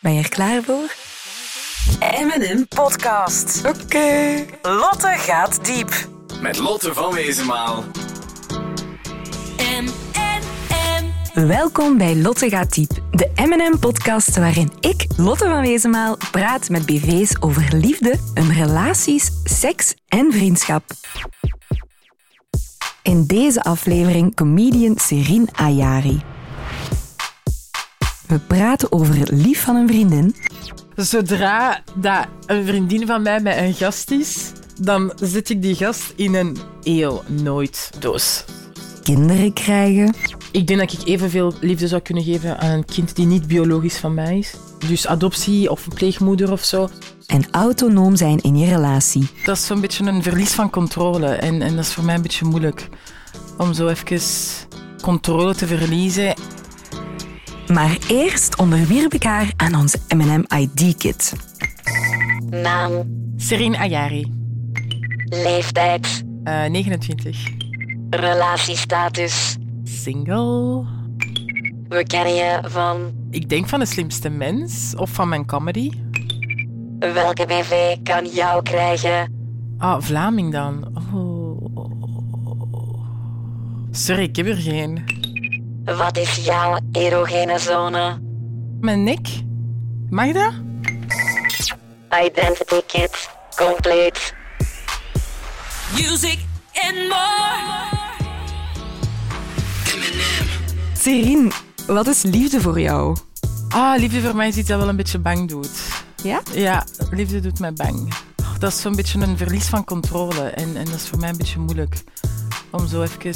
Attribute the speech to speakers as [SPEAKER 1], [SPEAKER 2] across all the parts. [SPEAKER 1] Ben je er klaar voor?
[SPEAKER 2] M&M Podcast.
[SPEAKER 1] Oké.
[SPEAKER 2] Lotte gaat diep.
[SPEAKER 3] Met Lotte van Wezenmaal.
[SPEAKER 1] Welkom bij Lotte gaat diep, de M&M podcast waarin ik, Lotte van Wezenmaal, praat met BV's over liefde, hun relaties, seks en vriendschap. In deze aflevering comedian Serin Ayari. We praten over het lief van een vriendin,
[SPEAKER 4] Zodra dat een vriendin van mij met een gast is, dan zet ik die gast in een eeuw nooit doos.
[SPEAKER 1] kinderen krijgen,
[SPEAKER 4] Ik denk dat ik evenveel liefde zou kunnen geven aan een kind die niet biologisch van mij is. Dus adoptie of een pleegmoeder of zo.
[SPEAKER 1] en autonoom zijn in je relatie.
[SPEAKER 4] Dat is zo'n beetje een verlies van controle. En, en dat is voor mij een beetje moeilijk. Om zo even controle te verliezen.
[SPEAKER 1] Maar eerst onderwierp ik haar aan onze M&M ID-kit.
[SPEAKER 5] Naam,
[SPEAKER 4] Serene Ayari,
[SPEAKER 5] leeftijd,
[SPEAKER 4] eh, 29.
[SPEAKER 5] relatiestatus.
[SPEAKER 4] Single.
[SPEAKER 5] We kennen je van
[SPEAKER 4] Ik denk van de slimste mens of van mijn comedy.
[SPEAKER 5] welke BV kan jou krijgen?
[SPEAKER 4] Ah, Vlaming dan. Oh. Sorry, ik heb er geen.
[SPEAKER 5] Wat is jouw erogene zone?
[SPEAKER 4] Mijn nek? Mag dat?
[SPEAKER 5] Identity kit, compleet.
[SPEAKER 1] Serin, wat is liefde voor jou?
[SPEAKER 4] Ah, liefde voor mij is iets dat wel een beetje bang doet.
[SPEAKER 1] Ja?
[SPEAKER 4] Ja, liefde doet mij bang. Dat is zo'n beetje een verlies van controle. En, en dat is voor mij een beetje moeilijk. Om zo even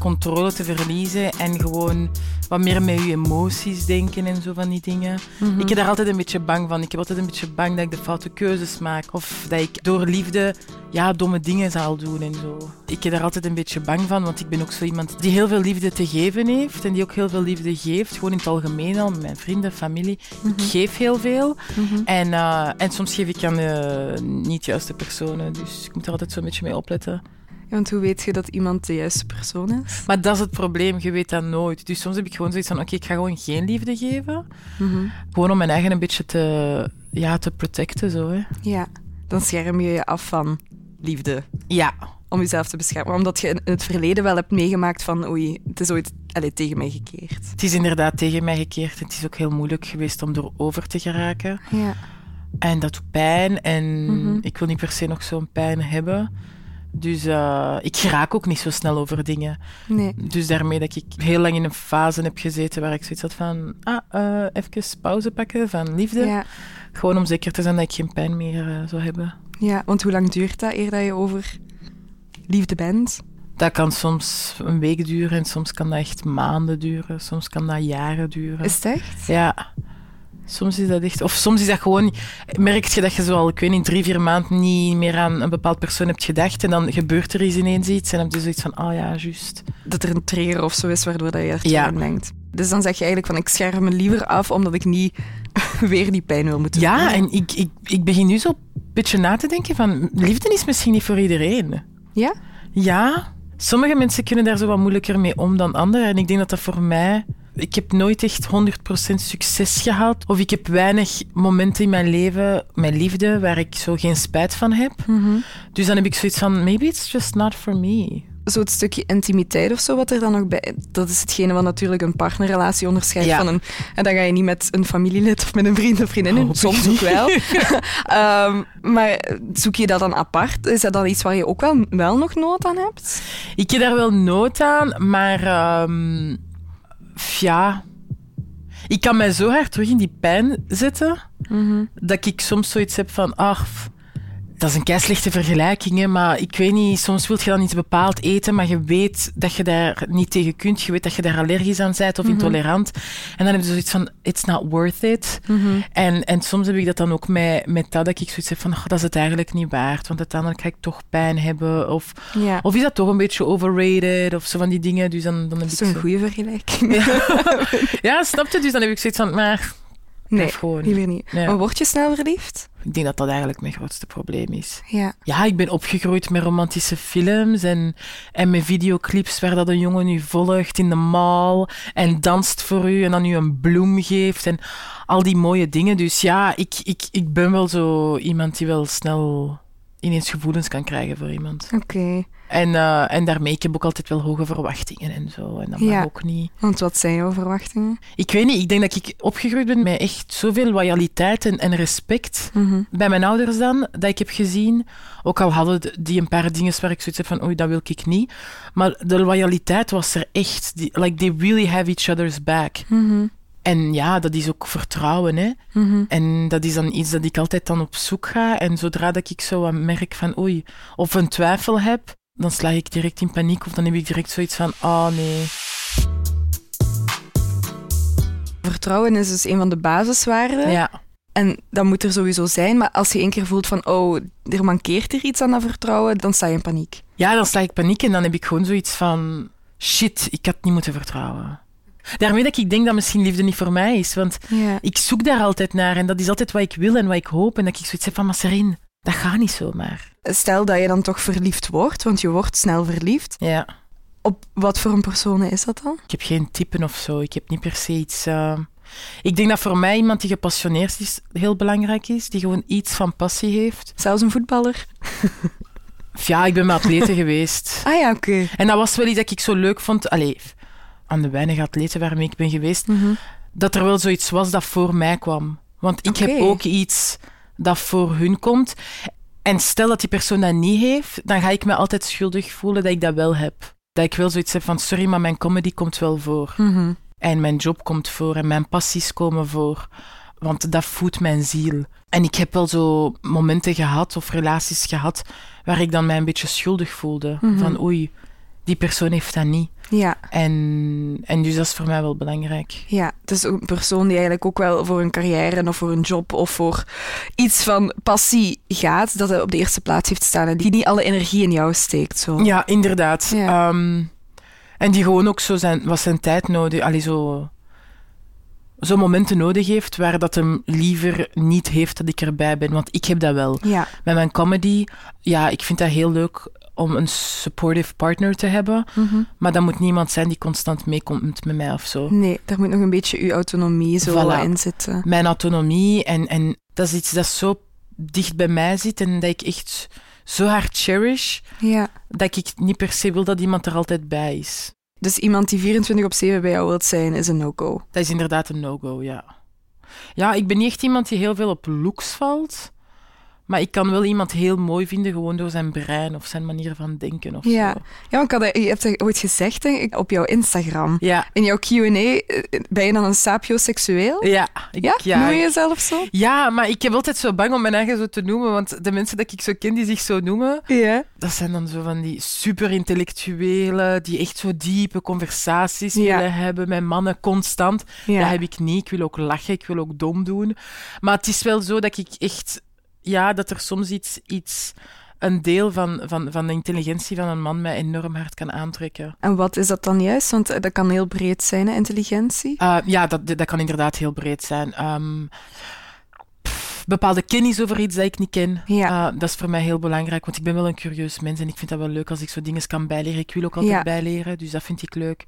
[SPEAKER 4] controle te verliezen en gewoon wat meer met je emoties denken en zo van die dingen. Ik ben daar altijd een beetje bang van. Ik heb altijd een beetje bang dat ik de foute keuzes maak. Of dat ik door liefde ja, domme dingen zal doen en zo. Ik ben daar altijd een beetje bang van, want ik ben ook zo iemand die heel veel liefde te geven heeft. En die ook heel veel liefde geeft, gewoon in het algemeen al, met mijn vrienden, familie. Ik geef heel veel. En, eh, en soms geef ik aan de niet juiste personen. Dus ik moet er altijd zo'n beetje mee opletten.
[SPEAKER 6] Want hoe weet je dat iemand de juiste persoon is?
[SPEAKER 4] Maar dat is het probleem, je weet dat nooit. Dus soms heb ik gewoon zoiets van, oké, ik ga gewoon geen liefde geven. Gewoon om mijn eigen een beetje te, ja, te protecten, zo. Hè.
[SPEAKER 6] Ja. Dan scherm je je af van liefde.
[SPEAKER 4] Ja.
[SPEAKER 6] Om jezelf te beschermen. Omdat je in het verleden wel hebt meegemaakt van oei, het is ooit allee, tegen mij gekeerd.
[SPEAKER 4] Het is inderdaad tegen mij gekeerd. Het is ook heel moeilijk geweest om erover te geraken.
[SPEAKER 6] Ja.
[SPEAKER 4] En dat doet pijn. En ik wil niet per se nog zo'n pijn hebben. Dus eh, ik raak ook niet zo snel over dingen.
[SPEAKER 6] Nee.
[SPEAKER 4] Dus daarmee dat ik heel lang in een fase heb gezeten waar ik zoiets had van... Ah, eh, even pauze pakken van liefde.
[SPEAKER 6] Ja.
[SPEAKER 4] Gewoon om zeker te zijn dat ik geen pijn meer eh, zou hebben.
[SPEAKER 6] ja, want hoe lang duurt dat eer dat je over liefde bent?
[SPEAKER 4] Dat kan soms een week duren en soms kan dat echt maanden duren. Soms kan dat jaren duren.
[SPEAKER 6] Is het echt?
[SPEAKER 4] Ja. Soms is dat echt... Of soms is dat gewoon... Merk je dat je zo al, ik weet niet, drie, vier maanden niet meer aan een bepaald persoon hebt gedacht en dan gebeurt er eens ineens iets en dan heb je zoiets van, ah ja, juist.
[SPEAKER 6] Dat er een trigger of zo is waardoor dat je er
[SPEAKER 4] Ja.
[SPEAKER 6] aan denkt. Dus dan zeg je eigenlijk van ik scherm me liever af omdat ik niet weer die pijn wil moeten
[SPEAKER 4] Ja,
[SPEAKER 6] voelen.
[SPEAKER 4] en ik, ik, ik begin nu zo'n beetje na te denken van, liefde is misschien niet voor iedereen.
[SPEAKER 6] Ja?
[SPEAKER 4] Ja. Sommige mensen kunnen daar zo wat moeilijker mee om dan anderen. En ik denk dat dat voor mij... Ik heb nooit echt 100% succes gehaald. Of ik heb weinig momenten in mijn leven, mijn liefde, waar ik zo geen spijt van heb. Dus dan heb ik zoiets van, maybe it's just not for me.
[SPEAKER 6] zo het stukje intimiteit of zo, wat er dan nog bij... Dat is hetgene wat natuurlijk een partnerrelatie onderscheidt
[SPEAKER 4] Ja.
[SPEAKER 6] van een... En dan ga je niet met een familielid of met een vriend of vriendin,
[SPEAKER 4] Hoop ik
[SPEAKER 6] soms ook wel. Ehm, maar zoek je dat dan apart? Is dat dan iets waar je ook wel, wel nog nood aan hebt?
[SPEAKER 4] Ik heb daar wel nood aan, maar ehm, f- ja. Ik kan mij zo hard terug in die pijn zetten dat ik soms zoiets heb van, ach, f- dat is een kei slechte vergelijking, hè, maar ik weet niet, soms wil je dan iets bepaald eten, maar je weet dat je daar niet tegen kunt, je weet dat je daar allergisch aan bent of intolerant. En dan heb je zoiets van, it's not worth it. En, en soms heb ik dat dan ook met, met dat, dat ik zoiets heb van, ach, dat is het eigenlijk niet waard, want uiteindelijk ga ik toch pijn hebben of...
[SPEAKER 6] Ja.
[SPEAKER 4] Of is dat toch een beetje overrated of zo van die dingen? Dus dan, dan heb
[SPEAKER 6] dat is
[SPEAKER 4] ik
[SPEAKER 6] een
[SPEAKER 4] zo-
[SPEAKER 6] goede vergelijking.
[SPEAKER 4] Ja, snap je? Dus dan heb ik zoiets van, maar
[SPEAKER 6] Nee,
[SPEAKER 4] Of gewoon-
[SPEAKER 6] liever niet.
[SPEAKER 4] Ja.
[SPEAKER 6] Maar word je snel verliefd?
[SPEAKER 4] Ik denk dat dat eigenlijk mijn grootste probleem is.
[SPEAKER 6] Ja.
[SPEAKER 4] Ja, ik ben opgegroeid met romantische films en, en met videoclips waar dat een jongen u volgt in de mall en danst voor u en dan u een bloem geeft en al die mooie dingen. Dus ja, ik, ik, ik ben wel zo iemand die wel snel ineens gevoelens kan krijgen voor iemand.
[SPEAKER 6] Oké.
[SPEAKER 4] En, eh, en daarmee, ik heb ook altijd wel hoge verwachtingen en zo. En dat
[SPEAKER 6] Ja.
[SPEAKER 4] mag ook niet.
[SPEAKER 6] Want wat zijn jouw verwachtingen?
[SPEAKER 4] Ik weet niet, ik denk dat ik opgegroeid ben met echt zoveel loyaliteit en, en respect bij mijn ouders dan, dat ik heb gezien. Ook al hadden d- die een paar dingen waar ik zoiets heb van, oei, dat wil ik niet. Maar de loyaliteit was er echt. Die, like, they really have each other's back. En ja, dat is ook vertrouwen, hè. En dat is dan iets dat ik altijd dan op zoek ga. En zodra dat ik zo wat merk van, oei, of een twijfel heb, dan sla ik direct in paniek. Of dan heb ik direct zoiets van, oh nee.
[SPEAKER 6] Vertrouwen is dus een van de basiswaarden.
[SPEAKER 4] Ja.
[SPEAKER 6] En dat moet er sowieso zijn. Maar als je één keer voelt van, oh, er mankeert er iets aan dat vertrouwen, dan sta je in paniek.
[SPEAKER 4] Ja, dan sla ik paniek en dan heb ik gewoon zoiets van... Shit, ik had niet moeten vertrouwen. Daarmee dat ik denk dat misschien liefde niet voor mij is. Want
[SPEAKER 6] Ja.
[SPEAKER 4] ik zoek daar altijd naar en dat is altijd wat ik wil en wat ik hoop. En dat ik zoiets heb van, maar Serene, dat gaat niet zomaar.
[SPEAKER 6] Stel dat je dan toch verliefd wordt, want je wordt snel verliefd.
[SPEAKER 4] Ja.
[SPEAKER 6] Op wat voor een persoon is dat dan?
[SPEAKER 4] Ik heb geen typen of zo. Ik heb niet per se iets... eh, Ik denk dat voor mij iemand die gepassioneerd is heel belangrijk is. Die gewoon iets van passie heeft.
[SPEAKER 6] Zelfs een voetballer?
[SPEAKER 4] Of ja, ik ben met atleten geweest.
[SPEAKER 6] Ah ja, oké.
[SPEAKER 4] En dat was wel iets dat ik zo leuk vond. Allee, aan de weinige atleten waarmee ik ben geweest, dat er wel zoiets was dat voor mij kwam. Want ik heb
[SPEAKER 6] Oké.
[SPEAKER 4] ook iets dat voor hun komt. En stel dat die persoon dat niet heeft, dan ga ik me altijd schuldig voelen dat ik dat wel heb. Dat ik wel zoiets heb van, sorry, maar mijn comedy komt wel voor. En mijn job komt voor en mijn passies komen voor. Want dat voedt mijn ziel. En ik heb wel zo momenten gehad of relaties gehad waar ik dan mij een beetje schuldig voelde. Van oei, die persoon heeft dat niet.
[SPEAKER 6] Ja,
[SPEAKER 4] En, en dus dat is voor mij wel belangrijk.
[SPEAKER 6] ja. Dus een persoon die eigenlijk ook wel voor een carrière of voor een job of voor iets van passie gaat, dat hij op de eerste plaats heeft staan en die niet alle energie in jou steekt. Zo.
[SPEAKER 4] Ja, inderdaad.
[SPEAKER 6] Ja.
[SPEAKER 4] Ehm, en die gewoon ook zo zijn, wat zijn tijd nodig, allee, zo, zo momenten nodig heeft waar dat hem liever niet heeft dat ik erbij ben. Want ik heb dat wel.
[SPEAKER 6] Ja.
[SPEAKER 4] Met mijn comedy, ja, ik vind dat heel leuk om een supportive partner te hebben.
[SPEAKER 6] Mhm.
[SPEAKER 4] Maar dat moet niemand zijn die constant meekomt met mij of zo.
[SPEAKER 6] Nee, daar moet nog een beetje uw autonomie zo
[SPEAKER 4] Voilà.
[SPEAKER 6] wat in zitten.
[SPEAKER 4] mijn autonomie. En, en dat is iets dat zo dicht bij mij zit en dat ik echt zo hard cherish,
[SPEAKER 6] Ja.
[SPEAKER 4] dat ik niet per se wil dat iemand er altijd bij is.
[SPEAKER 6] Dus iemand die 24 op 7 bij jou wilt zijn, is een no-go.
[SPEAKER 4] Dat is inderdaad een no-go, ja. Ja, ik ben niet echt iemand die heel veel op looks valt. Maar ik kan wel iemand heel mooi vinden gewoon door zijn brein of zijn manier van denken of
[SPEAKER 6] Ja.
[SPEAKER 4] zo.
[SPEAKER 6] Ja, want ik had, eh, je hebt dat ooit gezegd, denk ik, op jouw Instagram.
[SPEAKER 4] Ja.
[SPEAKER 6] In jouw Q&A, eh, ben je dan een sapioseksueel?
[SPEAKER 4] Ja. Ik,
[SPEAKER 6] Ja?
[SPEAKER 4] ja,
[SPEAKER 6] Noem je jezelf zo?
[SPEAKER 4] ja, maar ik heb altijd zo bang om mijn eigen zo te noemen. Want de mensen dat ik zo ken die zich zo noemen,
[SPEAKER 6] Ja.
[SPEAKER 4] Dat zijn dan zo van die superintellectuelen die echt zo diepe conversaties
[SPEAKER 6] Ja.
[SPEAKER 4] willen hebben met mannen constant.
[SPEAKER 6] Ja.
[SPEAKER 4] Dat heb ik niet. Ik wil ook lachen, ik wil ook dom doen. Maar het is wel zo dat ik echt, ja, dat er soms iets, iets een deel van, van, van de intelligentie van een man mij enorm hard kan aantrekken.
[SPEAKER 6] En wat is dat dan juist? Want eh, dat kan heel breed zijn, hè, intelligentie.
[SPEAKER 4] Eh, ja, dat, dat kan inderdaad heel breed zijn. Ehm, pff, bepaalde kennis over iets dat ik niet ken.
[SPEAKER 6] Ja.
[SPEAKER 4] Eh, dat is voor mij heel belangrijk, want ik ben wel een curieus mens en ik vind dat wel leuk als ik zo dingen kan bijleren. Ik wil ook altijd
[SPEAKER 6] Ja.
[SPEAKER 4] bijleren, dus dat vind ik leuk.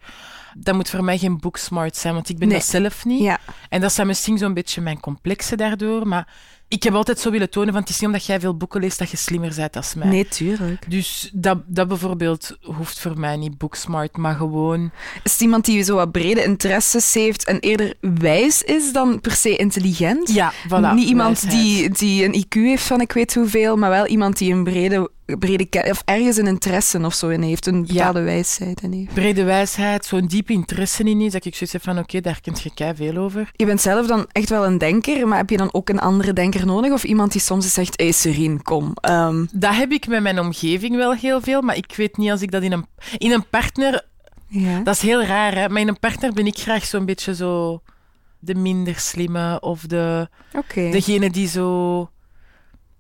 [SPEAKER 4] Dat moet voor mij geen booksmart zijn, want ik ben
[SPEAKER 6] Nee.
[SPEAKER 4] dat zelf niet.
[SPEAKER 6] Ja.
[SPEAKER 4] En dat zijn misschien zo'n beetje mijn complexen daardoor, maar ik heb altijd zo willen tonen van het is niet omdat jij veel boeken leest dat je slimmer bent dan mij.
[SPEAKER 6] Nee, tuurlijk.
[SPEAKER 4] Dus dat, dat bijvoorbeeld hoeft voor mij niet booksmart, maar gewoon...
[SPEAKER 6] Is het iemand die zo wat brede interesses heeft en eerder wijs is dan per se intelligent?
[SPEAKER 4] Ja, voilà.
[SPEAKER 6] Niet iemand
[SPEAKER 4] wijsheid.
[SPEAKER 6] die, die een IQ heeft van ik weet hoeveel, maar wel iemand die een brede, brede ke- of ergens een interesse of zo in heeft, een bepaalde wijsheid in heeft.
[SPEAKER 4] brede wijsheid, zo'n diepe interesse in is, dat ik zoiets heb van, oké, daar kent je kei veel over.
[SPEAKER 6] Je bent zelf dan echt wel een denker, maar heb je dan ook een andere denker nodig? Of iemand die soms eens zegt, hé hey, Serene, kom. Ehm,
[SPEAKER 4] Dat heb ik met mijn omgeving wel heel veel, maar ik weet niet als ik dat in een, in een partner...
[SPEAKER 6] ja.
[SPEAKER 4] Dat is heel raar, hè? maar in een partner ben ik graag zo'n beetje zo de minder slimme of de,
[SPEAKER 6] Oké.
[SPEAKER 4] degene die zo...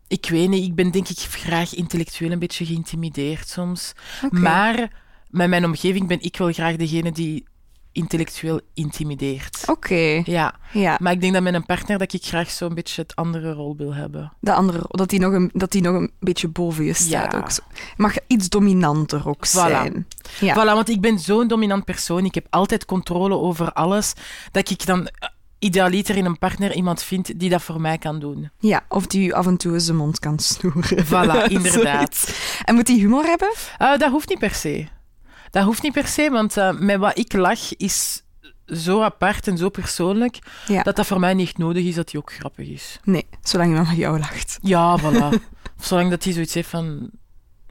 [SPEAKER 4] Ik weet niet, ik ben denk ik graag intellectueel een beetje geïntimideerd soms.
[SPEAKER 6] Oké.
[SPEAKER 4] Maar met mijn omgeving ben ik wel graag degene die intellectueel intimideert.
[SPEAKER 6] Oké,
[SPEAKER 4] Ja,
[SPEAKER 6] ja.
[SPEAKER 4] maar ik denk dat met een partner dat ik graag zo'n beetje het andere rol wil hebben.
[SPEAKER 6] De andere, dat die nog een, dat die nog een beetje boven je staat.
[SPEAKER 4] Ja.
[SPEAKER 6] Ook. zo. Mag iets dominanter ook zijn. Ja.
[SPEAKER 4] Voilà, want ik ben zo'n dominant persoon. Ik heb altijd controle over alles. Dat ik dan eh, idealiter in een partner iemand vind die dat voor mij kan doen.
[SPEAKER 6] Ja, of die u af en toe eens de mond kan snoeren.
[SPEAKER 4] Voilà, inderdaad.
[SPEAKER 6] Zoiets. en moet die humor hebben?
[SPEAKER 4] Eh, dat hoeft niet per se. Dat hoeft niet per se, want eh, met wat ik lach is zo apart en zo persoonlijk
[SPEAKER 6] Ja.
[SPEAKER 4] dat dat voor mij niet nodig is dat die ook grappig is.
[SPEAKER 6] Nee, zolang iemand met jou lacht.
[SPEAKER 4] Ja, voilà. Of zolang dat hij zoiets heeft van...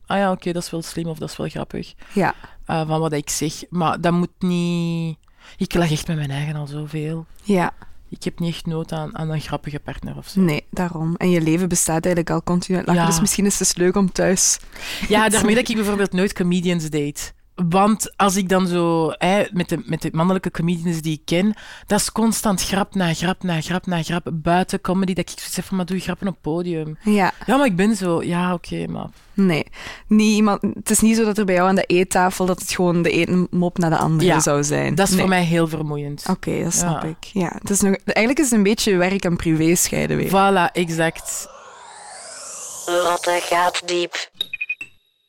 [SPEAKER 4] Ah ja, oké, dat is wel slim of dat is wel grappig.
[SPEAKER 6] Ja.
[SPEAKER 4] eh, van wat ik zeg. Maar dat moet niet... Ik lach echt met mijn eigen al zoveel.
[SPEAKER 6] Ja,
[SPEAKER 4] Ik heb niet echt nood aan, aan een grappige partner of zo.
[SPEAKER 6] nee, daarom. En je leven bestaat eigenlijk al continu uit lachen,
[SPEAKER 4] Ja.
[SPEAKER 6] dus misschien is het dus leuk om thuis...
[SPEAKER 4] Ja, daarmee dat ik bijvoorbeeld nooit comedians date. Want als ik dan zo, hè, met, de, met de mannelijke comedians die ik ken, dat is constant grap na grap na grap na grap buiten comedy. Dat ik zoiets heb van, maar doe je grappen op het podium?
[SPEAKER 6] Ja,
[SPEAKER 4] Ja, maar ik ben zo, ja, oké, maar.
[SPEAKER 6] nee. Niet iemand, het is niet zo dat er bij jou aan de eettafel dat het gewoon de ene mop naar de andere
[SPEAKER 4] Ja,
[SPEAKER 6] zou zijn.
[SPEAKER 4] Dat is
[SPEAKER 6] Nee.
[SPEAKER 4] voor mij heel vermoeiend.
[SPEAKER 6] Oké, dat snap
[SPEAKER 4] Ja.
[SPEAKER 6] ik. Ja, het is nog, eigenlijk is het een beetje werk en privé scheiden weer.
[SPEAKER 4] Voilà, exact.
[SPEAKER 5] Lotte gaat diep.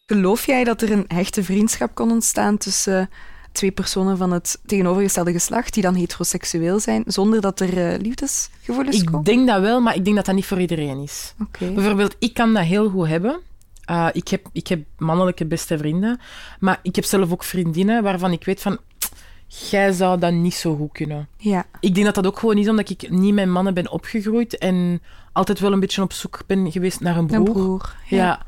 [SPEAKER 6] Geloof jij dat er een hechte vriendschap kon ontstaan tussen eh, twee personen van het tegenovergestelde geslacht die dan heteroseksueel zijn, zonder dat er eh, liefdesgevoelens
[SPEAKER 4] Ik
[SPEAKER 6] komen?
[SPEAKER 4] denk dat wel, maar ik denk dat dat niet voor iedereen is.
[SPEAKER 6] Oké.
[SPEAKER 4] Bijvoorbeeld, ik kan dat heel goed hebben. Uh, ik, heb, ik heb mannelijke beste vrienden, maar ik heb zelf ook vriendinnen waarvan ik weet van, jij zou dat niet zo goed kunnen.
[SPEAKER 6] Ja,
[SPEAKER 4] Ik denk dat dat ook gewoon is omdat ik niet met mannen ben opgegroeid en altijd wel een beetje op zoek ben geweest naar een broer.
[SPEAKER 6] een broer.
[SPEAKER 4] Ja.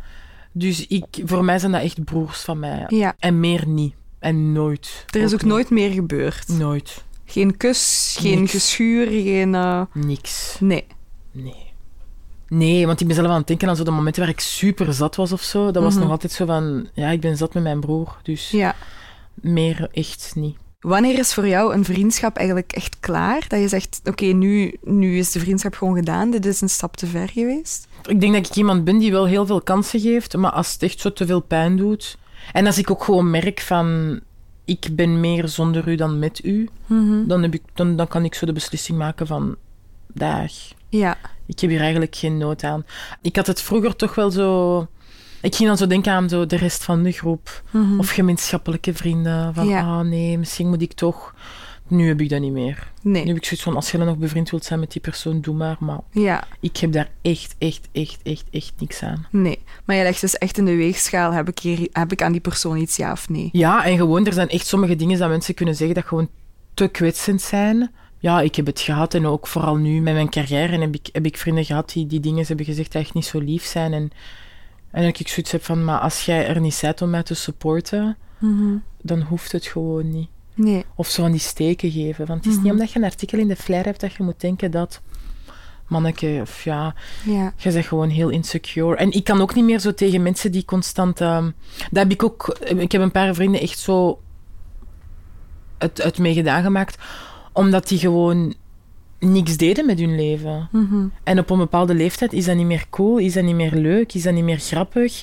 [SPEAKER 4] Dus ik, voor mij zijn dat echt broers van mij.
[SPEAKER 6] Ja.
[SPEAKER 4] En meer niet. En nooit.
[SPEAKER 6] Er is ook
[SPEAKER 4] niet.
[SPEAKER 6] nooit meer gebeurd.
[SPEAKER 4] Nooit.
[SPEAKER 6] Geen kus, geen
[SPEAKER 4] Niks.
[SPEAKER 6] geschuur, geen... eh,
[SPEAKER 4] Niks.
[SPEAKER 6] Nee.
[SPEAKER 4] Nee. Nee, want ik ben zelf aan het denken aan zo de momenten waar ik super zat was of zo. Dat was nog altijd zo van, ja, ik ben zat met mijn broer, dus
[SPEAKER 6] Ja.
[SPEAKER 4] meer echt niet.
[SPEAKER 6] Wanneer is voor jou een vriendschap eigenlijk echt klaar? Dat je zegt, oké, nu, nu is de vriendschap gewoon gedaan, dit is een stap te ver geweest.
[SPEAKER 4] Ik denk dat ik iemand ben die wel heel veel kansen geeft, maar als het echt zo te veel pijn doet. En als ik ook gewoon merk van, ik ben meer zonder u dan met u, dan, heb ik, dan, dan kan ik zo de beslissing maken van, dag.
[SPEAKER 6] Ja.
[SPEAKER 4] Ik heb hier eigenlijk geen nood aan. Ik had het vroeger toch wel zo. Ik ging dan zo denken aan zo de rest van de groep. Of gemeenschappelijke vrienden. Van,
[SPEAKER 6] Mhm. Ja.
[SPEAKER 4] ah nee, misschien moet ik toch. Nu heb ik dat niet meer.
[SPEAKER 6] Nee.
[SPEAKER 4] Nu heb ik zoiets van, als je dan nog bevriend wilt zijn met die persoon, doe maar. Maar
[SPEAKER 6] Ja.
[SPEAKER 4] ik heb daar echt, echt, echt, echt, echt niks aan.
[SPEAKER 6] Nee, maar je legt dus echt in de weegschaal, heb ik, hier, heb ik aan die persoon iets ja of nee?
[SPEAKER 4] Ja, en gewoon, er zijn echt sommige dingen dat mensen kunnen zeggen dat gewoon te kwetsend zijn. Ja, ik heb het gehad en ook vooral nu met mijn carrière heb ik, heb ik vrienden gehad die die dingen hebben gezegd die echt niet zo lief zijn. En, en dat ik zoiets heb van, maar als jij er niet bent om mij te supporten, dan hoeft het gewoon niet.
[SPEAKER 6] Nee.
[SPEAKER 4] Of zo aan die steken geven. Want het is niet omdat je een artikel in de flair hebt dat je moet denken dat... Manneke, of ja,
[SPEAKER 6] Ja.
[SPEAKER 4] je bent gewoon heel insecure. En ik kan ook niet meer zo tegen mensen die constant. ehm dat heb ik ook. Ik heb een paar vrienden echt zo. Het, het mee gedaan gemaakt. Omdat die gewoon niks deden met hun leven. En op een bepaalde leeftijd is dat niet meer cool, is dat niet meer leuk, is dat niet meer grappig.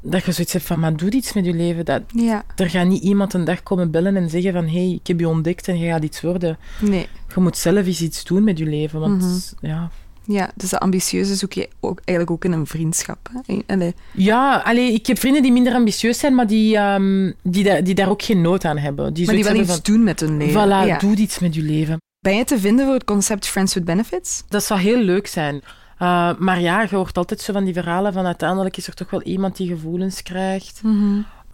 [SPEAKER 4] Dat je zoiets hebt van, maar doe iets met je leven. Dat,
[SPEAKER 6] Ja.
[SPEAKER 4] er gaat niet iemand een dag komen bellen en zeggen van, hé, hey, ik heb je ontdekt en je gaat iets worden.
[SPEAKER 6] Nee.
[SPEAKER 4] Je moet zelf eens iets doen met je leven, want ja,
[SPEAKER 6] Ja, dus de ambitieuze zoek je ook, eigenlijk ook in een vriendschap. Hè? In- allee.
[SPEAKER 4] Ja, allee, ik heb vrienden die minder ambitieus zijn, maar die, ehm, die, da- die daar ook geen nood aan hebben. Die
[SPEAKER 6] Maar die
[SPEAKER 4] zoiets
[SPEAKER 6] wel iets
[SPEAKER 4] hebben
[SPEAKER 6] doen met hun leven.
[SPEAKER 4] van, Voilà,
[SPEAKER 6] Ja.
[SPEAKER 4] doe iets met je leven.
[SPEAKER 6] Ben je te vinden voor het concept Friends with Benefits?
[SPEAKER 4] Dat zou heel leuk zijn. Uh, maar ja, je hoort altijd zo van die verhalen van uiteindelijk is er toch wel iemand die gevoelens krijgt.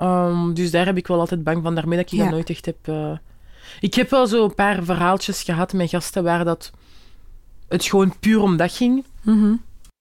[SPEAKER 4] Ehm, dus daar heb ik wel altijd bang van. Daarmee dat ik
[SPEAKER 6] Mhm. Ja.
[SPEAKER 4] dat nooit echt heb... eh, Ik heb wel zo een paar verhaaltjes gehad met gasten waar dat het gewoon puur om dat ging.
[SPEAKER 6] Mhm.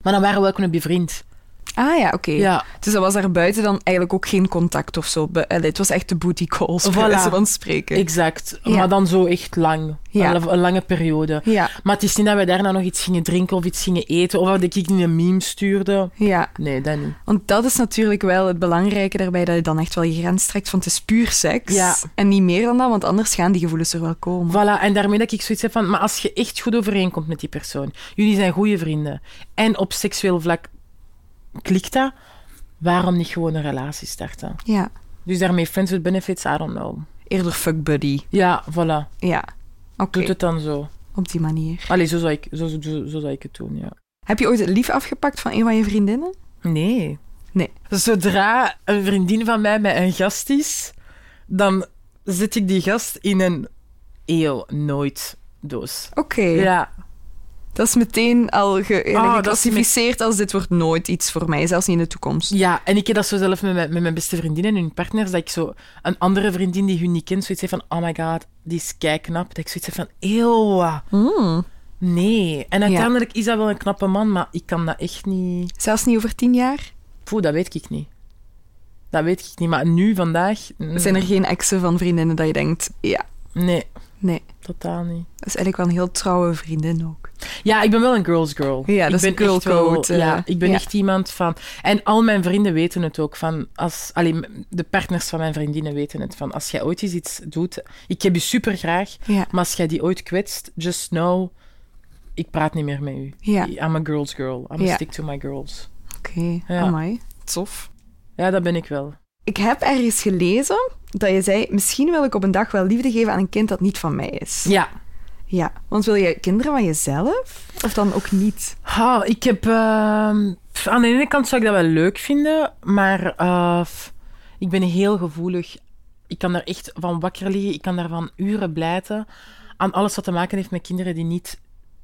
[SPEAKER 4] Maar dan waren we wel kunnen bevriend.
[SPEAKER 6] Ah ja, oké.
[SPEAKER 4] Ja.
[SPEAKER 6] Dus dat was daar buiten dan eigenlijk ook geen contact of zo. Be- allee, het was echt de booty calls, bij
[SPEAKER 4] Voilà.
[SPEAKER 6] wijze van spreken.
[SPEAKER 4] Exact.
[SPEAKER 6] Ja.
[SPEAKER 4] Maar dan zo echt lang.
[SPEAKER 6] Ja.
[SPEAKER 4] Een, een lange periode.
[SPEAKER 6] Ja.
[SPEAKER 4] Maar het is niet dat wij daarna nog iets gingen drinken of iets gingen eten of dat ik niet een meme stuurde.
[SPEAKER 6] Ja,
[SPEAKER 4] Nee, dat niet.
[SPEAKER 6] want dat is natuurlijk wel het belangrijke daarbij, dat je dan echt wel je grens trekt van het is puur seks.
[SPEAKER 4] Ja.
[SPEAKER 6] En niet meer dan dat, want anders gaan die gevoelens er wel komen.
[SPEAKER 4] Voilà, en daarmee dat ik zoiets heb van, maar als je echt goed overeenkomt met die persoon, jullie zijn goede vrienden en op seksueel vlak klikt dat, waarom niet gewoon een relatie starten?
[SPEAKER 6] Ja.
[SPEAKER 4] Dus daarmee friends with benefits, I don't know.
[SPEAKER 6] eerder fuck buddy.
[SPEAKER 4] Ja, voilà.
[SPEAKER 6] Ja, oké.
[SPEAKER 4] Doet het dan zo.
[SPEAKER 6] Op die manier.
[SPEAKER 4] Allee, zo zou ik, zo, zo, zo zou ik het doen, ja.
[SPEAKER 6] Heb je ooit het lief afgepakt van een van je vriendinnen?
[SPEAKER 4] Nee.
[SPEAKER 6] Nee.
[SPEAKER 4] Zodra een vriendin van mij met een gast is, dan zet ik die gast in een eeuw nooit doos.
[SPEAKER 6] Oké.
[SPEAKER 4] Ja. Ah,
[SPEAKER 6] Dat is meteen al ge
[SPEAKER 4] dat is
[SPEAKER 6] geclassificeerd als dit wordt nooit iets voor mij, zelfs niet in de toekomst.
[SPEAKER 4] ja, en ik heb dat zo zelf met, mijn- met mijn beste vriendin en hun partners, dat ik zo een andere vriendin die hun niet kent, zoiets heeft van, oh my god, die is keiknap. Dat ik zoiets heb van, eeuw,
[SPEAKER 6] Hmm.
[SPEAKER 4] nee. En uiteindelijk is dat wel een knappe man, maar ik kan dat echt niet...
[SPEAKER 6] Zelfs niet over tien jaar?
[SPEAKER 4] Poeh, dat weet ik niet. Dat weet ik niet, maar nu, vandaag... mm,
[SPEAKER 6] Zijn er geen exen van vriendinnen dat je denkt, ja,
[SPEAKER 4] Nee,
[SPEAKER 6] nee.
[SPEAKER 4] totaal niet.
[SPEAKER 6] Dat is eigenlijk wel een heel trouwe vriendin ook.
[SPEAKER 4] Ja, ik ben wel een girls girl.
[SPEAKER 6] Ja,
[SPEAKER 4] ik
[SPEAKER 6] dat
[SPEAKER 4] ben
[SPEAKER 6] is een girl
[SPEAKER 4] echt wel-
[SPEAKER 6] code, eh,
[SPEAKER 4] ja, ik ben
[SPEAKER 6] ja.
[SPEAKER 4] echt iemand van... En al mijn vrienden weten het ook. Van als, alleen de partners van mijn vriendinnen weten het. Van als jij ooit eens iets doet... Ik heb je super graag,
[SPEAKER 6] Ja.
[SPEAKER 4] maar als jij die ooit kwetst, just know... Ik praat niet meer met u.
[SPEAKER 6] Ja.
[SPEAKER 4] I'm a girls girl. I'm a
[SPEAKER 6] Ja.
[SPEAKER 4] stick to my girls.
[SPEAKER 6] Oké,
[SPEAKER 4] Ja.
[SPEAKER 6] amai. Tof.
[SPEAKER 4] Ja, dat ben ik wel.
[SPEAKER 6] Ik heb ergens gelezen dat je zei, misschien wil ik op een dag wel liefde geven aan een kind dat niet van mij is.
[SPEAKER 4] Ja.
[SPEAKER 6] Ja, want wil je kinderen van jezelf? Of dan ook niet?
[SPEAKER 4] Ha, ik heb... ehm, pff, aan de ene kant zou ik dat wel leuk vinden, maar eh, pff, ik ben heel gevoelig. Ik kan daar echt van wakker liggen, ik kan daar van uren blijten. Aan alles wat te maken heeft met kinderen die niet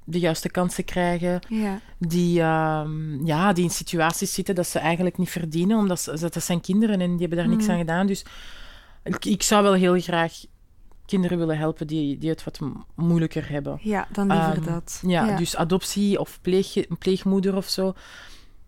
[SPEAKER 4] de juiste kansen krijgen,
[SPEAKER 6] Ja.
[SPEAKER 4] die, ehm, ja, die in situaties zitten dat ze eigenlijk niet verdienen, omdat ze, dat dat zijn kinderen en die hebben daar niks aan gedaan. Dus ik, ik zou wel heel graag kinderen willen helpen die, die het wat mo- moeilijker hebben.
[SPEAKER 6] Ja, dan liever
[SPEAKER 4] Ehm,
[SPEAKER 6] dat.
[SPEAKER 4] Ja, dus adoptie of pleeg, pleegmoeder of zo.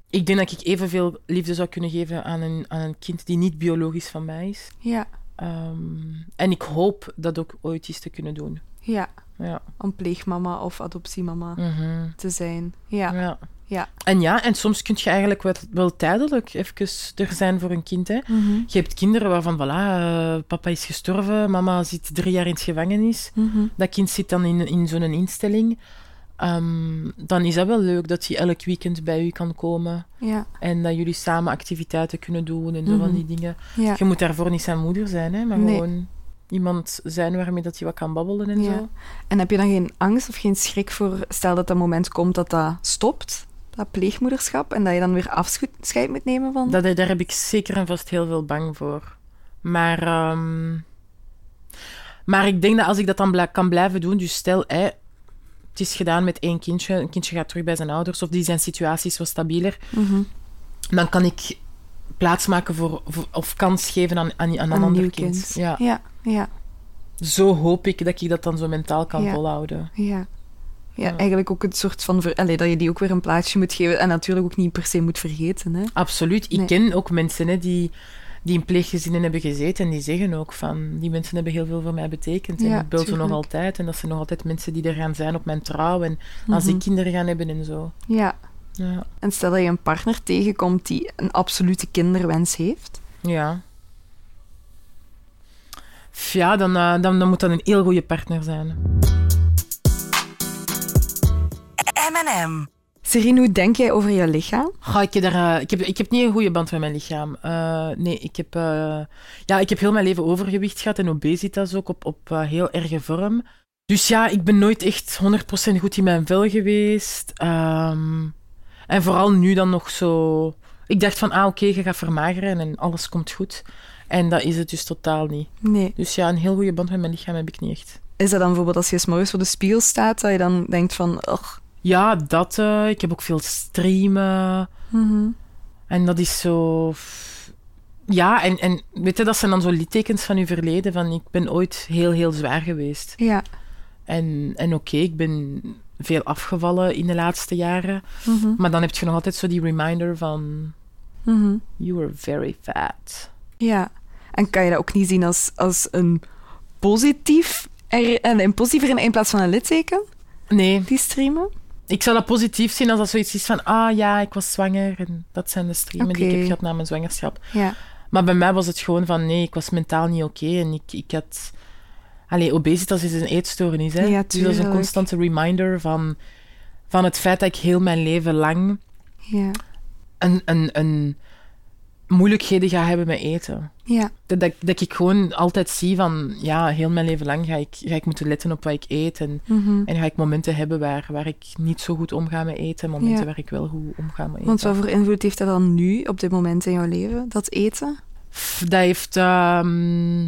[SPEAKER 4] Ik denk dat ik evenveel liefde zou kunnen geven aan een, aan een kind die niet biologisch van mij is.
[SPEAKER 6] Ja,
[SPEAKER 4] Ehm, en ik hoop dat ook ooit iets te kunnen doen.
[SPEAKER 6] ja.
[SPEAKER 4] Ja.
[SPEAKER 6] Om pleegmama of adoptiemama
[SPEAKER 4] Mhm.
[SPEAKER 6] te zijn. Ja.
[SPEAKER 4] ja.
[SPEAKER 6] Ja.
[SPEAKER 4] En ja, en soms kun je eigenlijk wel, wel tijdelijk even er zijn voor een kind. Hè.
[SPEAKER 6] Mhm.
[SPEAKER 4] Je hebt kinderen waarvan, voilà, eh, papa is gestorven, mama zit drie jaar in de gevangenis.
[SPEAKER 6] Mhm.
[SPEAKER 4] Dat kind zit dan in, in zo'n instelling. Ehm, dan is dat wel leuk dat hij elk weekend bij u kan komen.
[SPEAKER 6] Ja.
[SPEAKER 4] En dat jullie samen activiteiten kunnen doen en zo van die dingen.
[SPEAKER 6] Mhm. Ja.
[SPEAKER 4] Je moet daarvoor niet zijn moeder zijn, hè, maar
[SPEAKER 6] Nee.
[SPEAKER 4] gewoon iemand zijn waarmee dat je wat kan babbelen en
[SPEAKER 6] Ja.
[SPEAKER 4] zo.
[SPEAKER 6] En heb je dan geen angst of geen schrik voor, stel dat dat moment komt dat dat stopt, dat pleegmoederschap, en dat je dan weer afscheid moet nemen van?
[SPEAKER 4] Dat, daar heb ik zeker en vast heel veel bang voor. Maar, ehm, maar ik denk dat als ik dat dan bla- kan blijven doen, dus stel, hè, het is gedaan met één kindje, een kindje gaat terug bij zijn ouders, of die zijn situatie is wat stabieler, dan kan ik plaatsmaken voor, voor- of kans geven aan, aan, aan een
[SPEAKER 6] Aan
[SPEAKER 4] ander
[SPEAKER 6] nieuw
[SPEAKER 4] kind.
[SPEAKER 6] Ja.
[SPEAKER 4] Ja.
[SPEAKER 6] Ja, ja,
[SPEAKER 4] Zo hoop ik dat ik dat dan zo mentaal kan
[SPEAKER 6] Ja.
[SPEAKER 4] volhouden.
[SPEAKER 6] ja. eigenlijk ook het soort van... Ver, allee, dat je die ook weer een plaatsje moet geven en natuurlijk ook niet per se moet vergeten, hè.
[SPEAKER 4] Absoluut. Ik
[SPEAKER 6] Nee.
[SPEAKER 4] ken ook mensen hè, die, die in pleeggezinnen hebben gezeten en die zeggen ook van die mensen hebben heel veel voor mij betekend.
[SPEAKER 6] Ja,
[SPEAKER 4] en ik bel ze nog
[SPEAKER 6] tuurlijk.
[SPEAKER 4] altijd en dat zijn nog altijd mensen die er gaan zijn op mijn trouw en als
[SPEAKER 6] Mhm.
[SPEAKER 4] die kinderen gaan hebben en zo.
[SPEAKER 6] Ja.
[SPEAKER 4] Ja.
[SPEAKER 6] En stel dat je een partner tegenkomt die een absolute kinderwens heeft.
[SPEAKER 4] Ja. F, Ja, dan, eh, dan, dan moet dat een heel goede partner zijn.
[SPEAKER 2] M&M.
[SPEAKER 6] Serine, hoe denk jij over je lichaam?
[SPEAKER 4] Goh, ik, heb daar, eh, ik, heb, ik heb niet een goede band met mijn lichaam. Eh, nee, ik heb, eh, ja, ik heb heel mijn leven overgewicht gehad en obesitas ook op, op eh, heel erge vorm. Dus ja, ik ben nooit echt 100% goed in mijn vel geweest. Ehm, en vooral nu dan nog zo. Ik dacht van, ah oké, je gaat vermageren en alles komt goed. En dat is het dus totaal niet.
[SPEAKER 6] Nee.
[SPEAKER 4] Dus ja, een heel goede band met mijn lichaam heb ik niet echt.
[SPEAKER 6] Is dat dan bijvoorbeeld als je 's morgens voor de spiegel staat, dat je dan denkt van... Och,
[SPEAKER 4] Ja, dat. eh, ik heb ook veel streamen. En dat is zo. Ja, en, en weet je, dat zijn dan zo littekens van je verleden. Van ik ben ooit heel, heel zwaar geweest.
[SPEAKER 6] ja.
[SPEAKER 4] En, en oké, ik ben veel afgevallen in de laatste jaren. Maar dan heb je nog altijd zo die reminder van. You were very fat.
[SPEAKER 6] Ja, en kan je dat ook niet zien als, als een positief, er, een, een positief in, in plaats van een litteken,
[SPEAKER 4] Nee,
[SPEAKER 6] die streamen?
[SPEAKER 4] ik zou dat positief zien als dat zoiets is van. Ah ja, ik was zwanger. En dat zijn de streamen die ik
[SPEAKER 6] Oké.
[SPEAKER 4] heb gehad na mijn zwangerschap.
[SPEAKER 6] Ja.
[SPEAKER 4] Maar bij mij was het gewoon van nee, ik was mentaal niet oké en ik, ik had. Allee, obesitas is een eetstoornis, hè?
[SPEAKER 6] Ja,
[SPEAKER 4] dus dat is een
[SPEAKER 6] tuurlijk.
[SPEAKER 4] constante reminder van, van het feit dat ik heel mijn leven lang
[SPEAKER 6] Ja.
[SPEAKER 4] een, een, een, moeilijkheden ga hebben met eten.
[SPEAKER 6] Ja.
[SPEAKER 4] Dat, dat, dat ik gewoon altijd zie van, ja, heel mijn leven lang ga ik, ga ik moeten letten op wat ik eet. En,
[SPEAKER 6] Mhm.
[SPEAKER 4] en ga ik momenten hebben waar, waar ik niet zo goed omga met eten. Momenten
[SPEAKER 6] Ja.
[SPEAKER 4] waar ik wel goed omga met eten.
[SPEAKER 6] Want wat voor invloed heeft dat dan nu, op dit moment in jouw leven, dat eten?
[SPEAKER 4] Pff, dat heeft... ehm,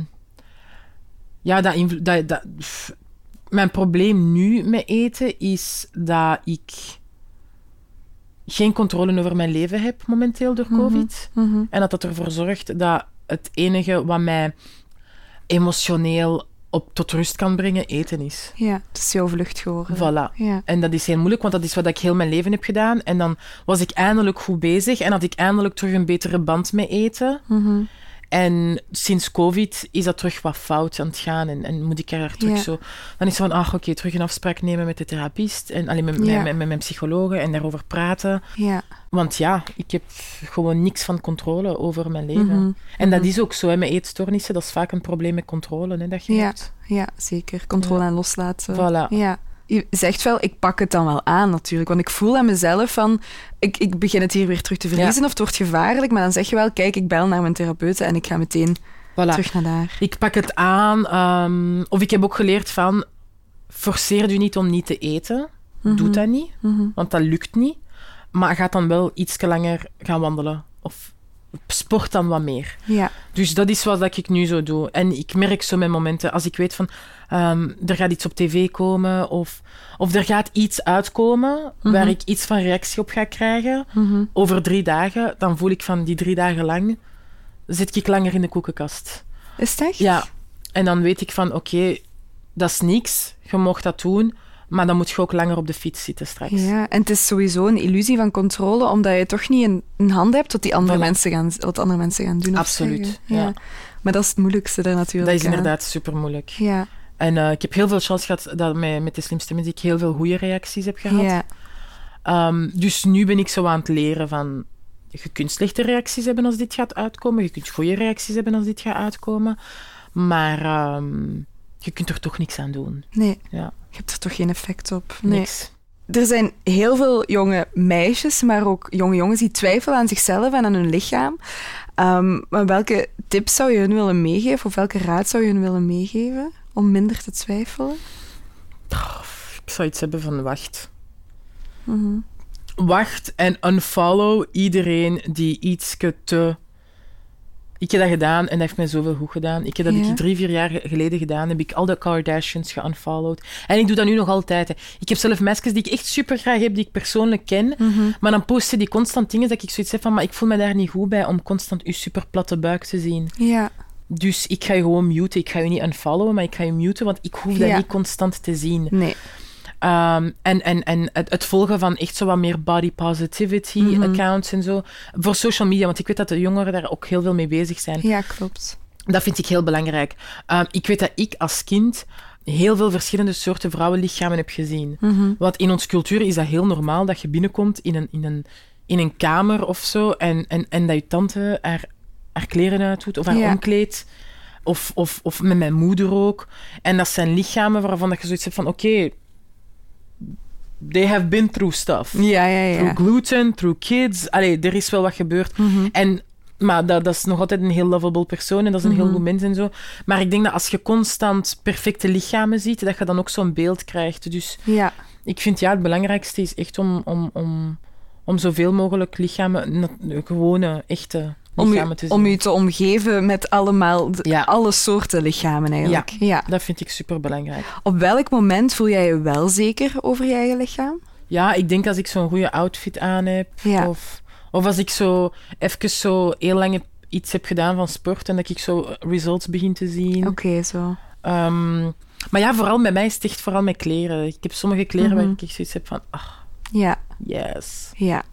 [SPEAKER 4] ja, dat, invlo- dat, dat pff. Mijn probleem nu met eten is dat ik geen controle over mijn leven heb momenteel door
[SPEAKER 6] Mhm.
[SPEAKER 4] COVID.
[SPEAKER 6] Mhm.
[SPEAKER 4] En dat dat ervoor zorgt dat het enige wat mij emotioneel op, tot rust kan brengen, eten is.
[SPEAKER 6] Ja, het is jouw vlucht geworden.
[SPEAKER 4] Voilà.
[SPEAKER 6] Ja.
[SPEAKER 4] En dat is heel moeilijk, want dat is wat ik heel mijn leven heb gedaan. En dan was ik eindelijk goed bezig en had ik eindelijk terug een betere band met eten.
[SPEAKER 6] Mhm.
[SPEAKER 4] En sinds COVID is dat terug wat fout aan het gaan. En, en moet ik er terug
[SPEAKER 6] Ja.
[SPEAKER 4] zo. Dan is het van, ach oké, terug een afspraak nemen met de therapist. En alleen met, met-
[SPEAKER 6] Ja.
[SPEAKER 4] met, met mijn psycholoog en daarover praten.
[SPEAKER 6] Ja.
[SPEAKER 4] Want ja, ik heb gewoon niks van controle over mijn leven.
[SPEAKER 6] Mhm.
[SPEAKER 4] En dat is ook zo, hè, met eetstoornissen, dat is vaak een probleem met controle, hè, dat je
[SPEAKER 6] Ja.
[SPEAKER 4] hebt.
[SPEAKER 6] ja, zeker. Controle en loslaten.
[SPEAKER 4] Voilà.
[SPEAKER 6] Ja. Je zegt wel, ik pak het dan wel aan natuurlijk. Want ik voel aan mezelf van, ik, ik begin het hier weer terug te verliezen of het wordt gevaarlijk. Maar dan zeg je wel, kijk, ik bel naar mijn therapeute en ik ga meteen
[SPEAKER 4] Voilà.
[SPEAKER 6] terug naar daar.
[SPEAKER 4] Ik pak het aan, ehm, of ik heb ook geleerd van, forceer je niet om niet te eten. Doe dat niet, want dat lukt niet. Maar ga dan wel iets langer gaan wandelen. Of sport dan wat meer.
[SPEAKER 6] Ja,
[SPEAKER 4] Dus dat is wat dat ik nu zo doe. En ik merk zo mijn momenten, als ik weet van ehm, er gaat iets op tv komen of, of er gaat iets uitkomen waar ik iets van reactie op ga krijgen over drie dagen, dan voel ik van die drie dagen lang zit ik langer in de koekenkast.
[SPEAKER 6] is het echt?
[SPEAKER 4] Ja, en dan weet ik van oké, dat is niks, je mocht dat doen, maar dan moet je ook langer op de fiets zitten straks.
[SPEAKER 6] Ja, en het is sowieso een illusie van controle, omdat je toch niet een, een hand hebt tot die andere
[SPEAKER 4] Voilà.
[SPEAKER 6] mensen gaan, wat andere mensen gaan doen. of
[SPEAKER 4] Absoluut,
[SPEAKER 6] zeggen.
[SPEAKER 4] ja.
[SPEAKER 6] Maar dat is het moeilijkste daar natuurlijk.
[SPEAKER 4] Dat is
[SPEAKER 6] aan.
[SPEAKER 4] inderdaad super moeilijk.
[SPEAKER 6] Ja,
[SPEAKER 4] En eh, ik heb heel veel chance gehad dat met, met de slimste mensen ik heel veel goede reacties heb gehad.
[SPEAKER 6] ja,
[SPEAKER 4] Ehm, dus nu ben ik zo aan het leren van... Je kunt slechte reacties hebben als dit gaat uitkomen. Je kunt goede reacties hebben als dit gaat uitkomen. Maar ehm, je kunt er toch niks aan doen.
[SPEAKER 6] nee.
[SPEAKER 4] Ja.
[SPEAKER 6] Je hebt er toch geen effect op? Nee.
[SPEAKER 4] Niks.
[SPEAKER 6] Er zijn heel veel jonge meisjes, maar ook jonge jongens die twijfelen aan zichzelf en aan hun lichaam. Ehm, maar welke tips zou je hun willen meegeven of welke raad zou je hun willen meegeven om minder te twijfelen?
[SPEAKER 4] Ik zou iets hebben van wacht.
[SPEAKER 6] Mhm.
[SPEAKER 4] Wacht en unfollow iedereen die iets te... Ik heb dat gedaan en dat heeft mij zoveel goed gedaan. Ik heb dat
[SPEAKER 6] Ja.
[SPEAKER 4] ik drie, vier jaar geleden gedaan. Heb ik al de Kardashians geunfollowed. En ik doe dat nu nog altijd. hè. Ik heb zelf meisjes die ik echt super graag heb, die ik persoonlijk ken.
[SPEAKER 6] Mhm.
[SPEAKER 4] Maar dan posten die constant dingen dat ik zoiets heb van... Maar ik voel me daar niet goed bij om constant uw super platte buik te zien.
[SPEAKER 6] Ja,
[SPEAKER 4] Dus ik ga je gewoon muten. Ik ga je niet unfollowen, maar ik ga je muten. Want ik hoef dat
[SPEAKER 6] Ja.
[SPEAKER 4] niet constant te zien.
[SPEAKER 6] nee.
[SPEAKER 4] Ehm, en en, en het, het volgen van echt zo wat meer body positivity accounts en zo. Voor social media, want ik weet dat de jongeren daar ook heel veel mee bezig zijn.
[SPEAKER 6] Ja, klopt.
[SPEAKER 4] Dat vind ik heel belangrijk. Ehm, ik weet dat ik als kind heel veel verschillende soorten vrouwenlichamen heb gezien. Want in onze cultuur is dat heel normaal dat je binnenkomt in een, in een, in een kamer of zo en, en, en dat je tante haar, haar kleren uitdoet of haar
[SPEAKER 6] Ja.
[SPEAKER 4] omkleedt. Of, of, of met mijn moeder ook. En dat zijn lichamen waarvan dat je zoiets hebt van... Oké, they have been through stuff.
[SPEAKER 6] Ja, ja, ja. Mhm.
[SPEAKER 4] Through gluten, through kids. Allee, er is wel wat gebeurd. En, maar dat, dat is nog altijd een heel lovable persoon en dat is een
[SPEAKER 6] Mhm.
[SPEAKER 4] heel goed mens en zo. Maar ik denk dat als je constant perfecte lichamen ziet, dat je dan ook zo'n beeld krijgt. Dus
[SPEAKER 6] Ja,
[SPEAKER 4] ik vind ja, het belangrijkste is echt om, om, om, om zoveel mogelijk lichamen, na- gewone, echte
[SPEAKER 6] om
[SPEAKER 4] lichamen
[SPEAKER 6] u,
[SPEAKER 4] te zien.
[SPEAKER 6] om u te omgeven met allemaal, de-
[SPEAKER 4] Ja.
[SPEAKER 6] alle soorten lichamen
[SPEAKER 4] ja,
[SPEAKER 6] eigenlijk. Ja.
[SPEAKER 4] dat vind ik superbelangrijk.
[SPEAKER 6] Op welk moment voel jij je wel zeker over je eigen lichaam?
[SPEAKER 4] Ja, ik denk als ik zo'n goede outfit aan heb.
[SPEAKER 6] Ja.
[SPEAKER 4] Of, of als ik zo even zo heel lang heb- iets heb gedaan van sport en dat ik zo results begin te zien.
[SPEAKER 6] Oké, zo.
[SPEAKER 4] Ehm, maar ja, vooral bij mij is het echt vooral met kleren. Ik heb sommige kleren
[SPEAKER 6] Mhm.
[SPEAKER 4] waar ik echt zoiets heb van, ach,
[SPEAKER 6] Ja,
[SPEAKER 4] yes.
[SPEAKER 6] ja.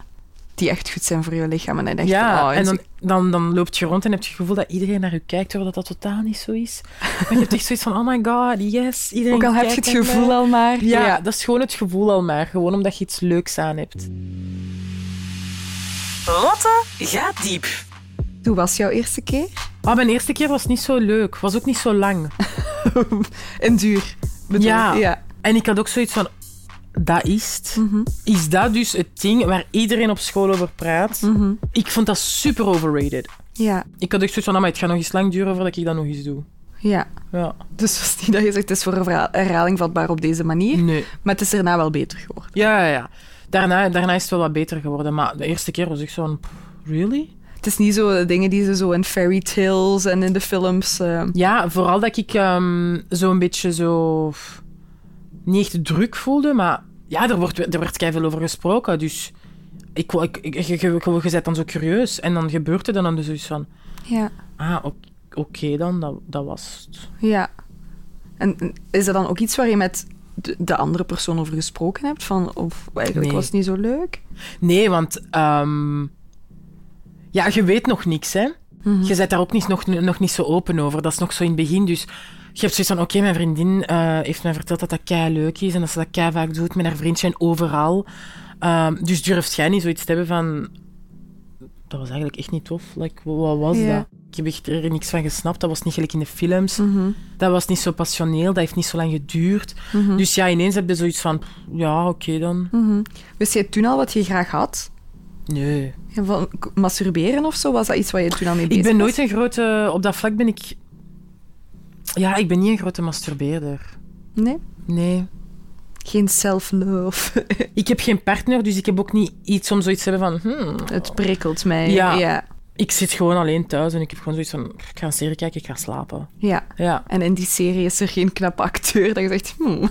[SPEAKER 6] Die echt goed zijn voor je lichaam. En dan denk je,
[SPEAKER 4] ja,
[SPEAKER 6] oh,
[SPEAKER 4] en dan, dan, dan loopt je rond en heb je het gevoel dat iedereen naar je kijkt, terwijl dat, dat totaal niet zo is. Maar je hebt echt zoiets van, oh my god, yes, iedereen
[SPEAKER 6] Ook al heb je het
[SPEAKER 4] kijkt naar
[SPEAKER 6] gevoel
[SPEAKER 4] mij.
[SPEAKER 6] al maar.
[SPEAKER 4] eh, Ja, dat is gewoon het gevoel al maar. Gewoon omdat je iets leuks aan hebt.
[SPEAKER 2] Lotte gaat diep.
[SPEAKER 6] Hoe was jouw eerste keer?
[SPEAKER 4] Ah, mijn eerste keer was niet zo leuk. Was ook niet zo lang.
[SPEAKER 6] en duur. bedoel ik.
[SPEAKER 4] Ja.
[SPEAKER 6] ja.
[SPEAKER 4] En ik had ook zoiets van... dat is het. Is dat dus het ding waar iedereen op school over praat? Ik vond dat super overrated.
[SPEAKER 6] Ja,
[SPEAKER 4] Ik had echt zoiets van, "Ah, maar het gaat nog eens lang duren voordat ik dat nog eens doe.
[SPEAKER 6] ja.
[SPEAKER 4] Ja.
[SPEAKER 6] Dus was niet dat je zegt, het is voor een verhaal- herhaling vatbaar op deze manier.
[SPEAKER 4] Nee.
[SPEAKER 6] Maar het is daarna wel beter geworden.
[SPEAKER 4] Ja, ja, ja. Daarna, daarna is het wel wat beter geworden. Maar de eerste keer was ik zo'n... "Pff, Really?
[SPEAKER 6] Het is niet zo de dingen die ze zo in fairy tales en in de films... eh,
[SPEAKER 4] Ja, vooral dat ik ehm zo'n beetje zo... Niet echt druk voelde, maar... Ja, er, wordt, er werd keihard over gesproken, dus... Ik, wou- ik, ik, je, je, je- je bent dan zo curieus. En dan gebeurt er dan, dan zoiets van...
[SPEAKER 6] ja.
[SPEAKER 4] Ah, ok- oké dan, dat, dat was het.
[SPEAKER 6] Ja. En en is dat dan ook iets waar je met de, de andere persoon over gesproken hebt? Van, of eigenlijk
[SPEAKER 4] Nee.
[SPEAKER 6] was het niet zo leuk?
[SPEAKER 4] Nee, want... ehm, ja, je weet nog niks, hè. Je bent daar ook niet, nog, nog niet zo open over. Dat is nog zo in het begin, dus... Je hebt zoiets van, oké, mijn vriendin eh, heeft mij verteld dat dat kei leuk is en dat ze dat kei vaak doet met haar vriendje en overal. Ehm, dus durft jij niet zoiets te hebben van... Dat was eigenlijk echt niet tof. Like, wa- wat was
[SPEAKER 6] Ja.
[SPEAKER 4] dat? Ik heb echt er niks van gesnapt. Dat was niet gelijk in de films. Dat was niet zo passioneel. Dat heeft niet zo lang geduurd. Dus ja, ineens heb je zoiets van... pff, Ja, oké dan.
[SPEAKER 6] Wist jij toen al wat je graag had?
[SPEAKER 4] Nee.
[SPEAKER 6] Ja, Van k- masturberen of zo? Was dat iets waar je toen al mee bezig
[SPEAKER 4] Ik ben
[SPEAKER 6] was?
[SPEAKER 4] nooit een grote... Op dat vlak ben ik... Ja, ik ben niet een grote masturbeerder.
[SPEAKER 6] Nee?
[SPEAKER 4] Nee.
[SPEAKER 6] Geen self-love.
[SPEAKER 4] Ik heb geen partner, dus ik heb ook niet iets om zoiets te hebben van... hmm,
[SPEAKER 6] het prikkelt mij.
[SPEAKER 4] Ja.
[SPEAKER 6] ja.
[SPEAKER 4] ik zit gewoon alleen thuis en ik heb gewoon zoiets van... pff, Ik ga een serie kijken, ik ga slapen.
[SPEAKER 6] Ja.
[SPEAKER 4] Ja.
[SPEAKER 6] En in die serie is er geen knappe acteur dat je zegt... Hmm.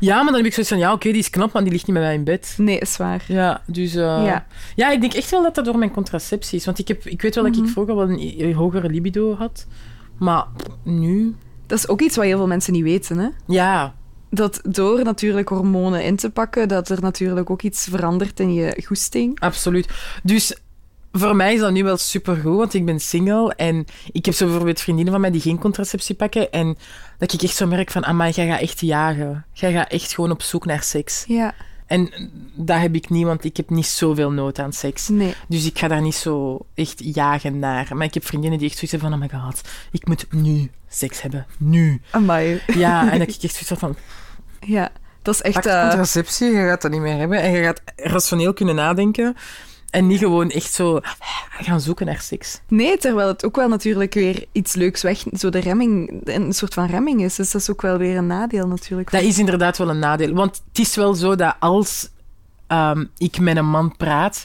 [SPEAKER 4] ja, maar dan heb ik zoiets van... Ja, oké, die is knap, maar die ligt niet met mij in bed.
[SPEAKER 6] Nee, is waar.
[SPEAKER 4] Ja, dus... eh,
[SPEAKER 6] Ja.
[SPEAKER 4] ja. ik denk echt wel dat dat door mijn contraceptie is. Want ik, heb, ik weet wel dat ik vroeger wel een i- hogere libido had. Maar nu...
[SPEAKER 6] Dat is ook iets wat heel veel mensen niet weten, hè?
[SPEAKER 4] Ja,
[SPEAKER 6] Dat door natuurlijk hormonen in te pakken, dat er natuurlijk ook iets verandert in je goesting.
[SPEAKER 4] absoluut. Dus voor mij is dat nu wel supergoed, want ik ben single. En ik heb zo bijvoorbeeld vriendinnen van mij die geen contraceptie pakken. En dat ik echt zo merk van... Amai, jij gaat echt jagen. Jij gaat echt gewoon op zoek naar seks.
[SPEAKER 6] Ja.
[SPEAKER 4] En dat heb ik niet, want ik heb niet zoveel nood aan seks.
[SPEAKER 6] Nee.
[SPEAKER 4] Dus ik ga daar niet zo echt jagen naar. Maar ik heb vriendinnen die echt zoiets hebben van... Oh my god, ik moet nu seks hebben. Nu.
[SPEAKER 6] Amai.
[SPEAKER 4] Ja, en dat ik echt zoiets had van...
[SPEAKER 6] Ja, dat is echt.
[SPEAKER 4] Pak
[SPEAKER 6] eh,
[SPEAKER 4] contraceptie, je gaat dat niet meer hebben. En je gaat rationeel kunnen nadenken. En niet gewoon echt zo "Ah, gaan zoeken naar seks.
[SPEAKER 6] nee, terwijl het ook wel natuurlijk weer iets leuks weg. Zo de remming, een soort van remming is. Dus dat is ook wel weer een nadeel natuurlijk.
[SPEAKER 4] Dat is inderdaad wel een nadeel. Want het is wel zo dat als ehm, ik met een man praat,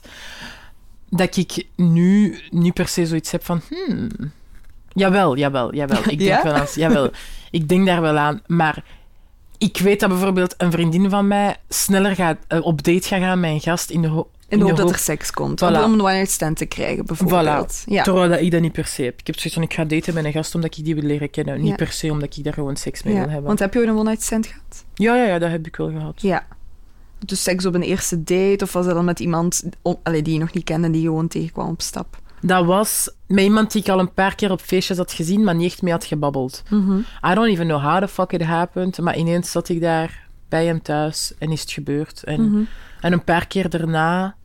[SPEAKER 4] dat ik nu niet per se zoiets heb van... Hmm, jawel, jawel, jawel. Ik denk,
[SPEAKER 6] Ja?
[SPEAKER 4] wel aan, jawel, ik denk daar wel aan. Maar ik weet dat bijvoorbeeld een vriendin van mij sneller gaat, eh, op date gaat gaan met een gast in de, ho-
[SPEAKER 6] in de hoop dat
[SPEAKER 4] hoop-
[SPEAKER 6] er seks komt.
[SPEAKER 4] Voilà.
[SPEAKER 6] Om een one-night stand te krijgen, bijvoorbeeld.
[SPEAKER 4] Voilà.
[SPEAKER 6] Ja.
[SPEAKER 4] Terwijl dat ik dat niet per se heb. Ik heb zoiets van, ik ga daten met een gast omdat ik die wil leren kennen. Niet
[SPEAKER 6] Ja.
[SPEAKER 4] per se omdat ik daar gewoon seks mee
[SPEAKER 6] Ja.
[SPEAKER 4] wil hebben.
[SPEAKER 6] Want heb je ooit een one-night stand gehad?
[SPEAKER 4] Ja, ja, ja, dat heb ik wel gehad.
[SPEAKER 6] Ja. Dus seks op een eerste date, of was dat dan met iemand om- allee, die je nog niet kende, die je gewoon tegenkwam op stap?
[SPEAKER 4] Dat was met iemand die ik al een paar keer op feestjes had gezien, maar niet echt mee had gebabbeld.
[SPEAKER 6] Mhm.
[SPEAKER 4] I don't even know how the fuck it happened, maar ineens zat ik daar bij hem thuis en is het gebeurd. En,
[SPEAKER 6] Mhm.
[SPEAKER 4] en een paar keer daarna...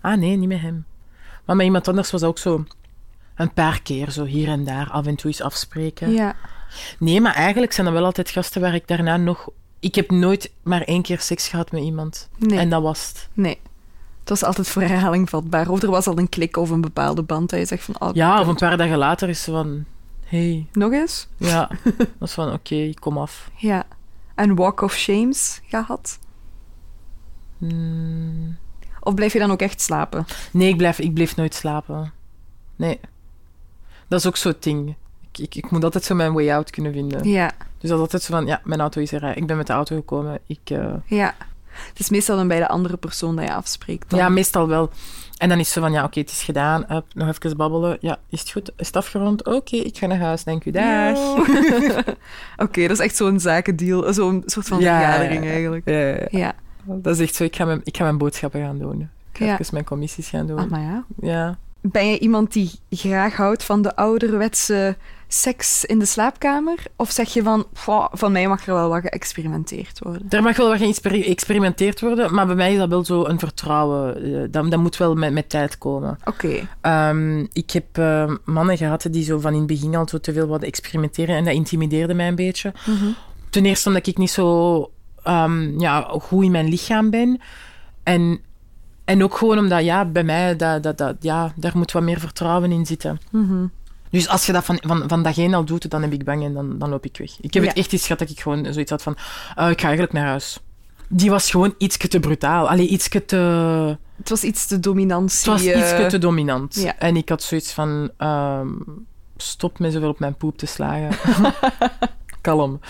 [SPEAKER 4] Ah nee, niet met hem. Maar met iemand anders was dat ook zo... Een paar keer, zo hier en daar, af en toe eens afspreken.
[SPEAKER 6] Ja.
[SPEAKER 4] Nee, maar eigenlijk zijn dat wel altijd gasten waar ik daarna nog... Ik heb nooit maar één keer seks gehad met iemand.
[SPEAKER 6] Nee.
[SPEAKER 4] En dat was het.
[SPEAKER 6] Nee. Het was altijd voor herhaling vatbaar. Of er was al een klik of een bepaalde band dat je zegt van... Oh,
[SPEAKER 4] Ja, of een paar dagen later is ze van... Hey,
[SPEAKER 6] Nog eens?
[SPEAKER 4] ja. dat is van, oké, kom af.
[SPEAKER 6] Ja. En Walk of Shames gehad?
[SPEAKER 4] Hmm.
[SPEAKER 6] Of blijf je dan ook echt slapen?
[SPEAKER 4] Nee, ik blijf, ik bleef nooit slapen. Nee. Dat is ook zo'n ding. Ik, ik, ik moet altijd zo mijn way out kunnen vinden.
[SPEAKER 6] Ja,
[SPEAKER 4] Dus dat is altijd zo van, ja, mijn auto is er. Ik ben met de auto gekomen. Ik, eh,
[SPEAKER 6] ja. Het is meestal dan bij de andere persoon dat je afspreekt. dan.
[SPEAKER 4] Ja, meestal wel. En dan is ze van, ja, oké, het is gedaan. Hup, nog even babbelen. Ja, is het goed? Is het afgerond? Oké, ik ga naar huis. Dank u, dag.
[SPEAKER 6] Yo. Oké, dat is echt zo'n zakendeal. Zo'n soort van
[SPEAKER 4] Ja,
[SPEAKER 6] vergadering
[SPEAKER 4] ja, ja.
[SPEAKER 6] eigenlijk.
[SPEAKER 4] Ja, ja, ja.
[SPEAKER 6] Ja.
[SPEAKER 4] dat is echt zo. Ik ga mijn, ik ga mijn boodschappen gaan doen. Ik ga
[SPEAKER 6] Ja.
[SPEAKER 4] even mijn commissies gaan doen.
[SPEAKER 6] Ah, maar ja.
[SPEAKER 4] Ja.
[SPEAKER 6] Ben je iemand die graag houdt van de ouderwetse seks in de slaapkamer? Of zeg je van, "Pwa, van mij mag er wel wat geëxperimenteerd worden?
[SPEAKER 4] Er mag wel wat geëxperimenteerd worden, maar bij mij is dat wel zo een vertrouwen. Eh, Dat, dat moet wel met, met tijd komen.
[SPEAKER 6] Oké,
[SPEAKER 4] Ehm, ik heb eh, mannen gehad die zo van in het begin al zo te veel wat experimenteren en dat intimideerde mij een beetje. Ten eerste omdat ik niet zo ehm, ja, goed in mijn lichaam ben. En, en ook gewoon omdat ja, bij mij dat, dat, dat, ja, daar moet wat meer vertrouwen in zitten. Dus als je dat van, van, van dag één al doet, dan heb ik bang en dan, dan loop ik weg. Ik heb het
[SPEAKER 6] Ja.
[SPEAKER 4] echt eens gehad dat ik gewoon zoiets had van... eh, ik ga eigenlijk naar huis. Die was gewoon iets te brutaal. Allee, iets te...
[SPEAKER 6] Het was iets te dominantie.
[SPEAKER 4] Het was
[SPEAKER 6] eh,
[SPEAKER 4] iets te dominant.
[SPEAKER 6] ja.
[SPEAKER 4] En ik had zoiets van... ehm, stop met zoveel op mijn poep te slagen. Kalm.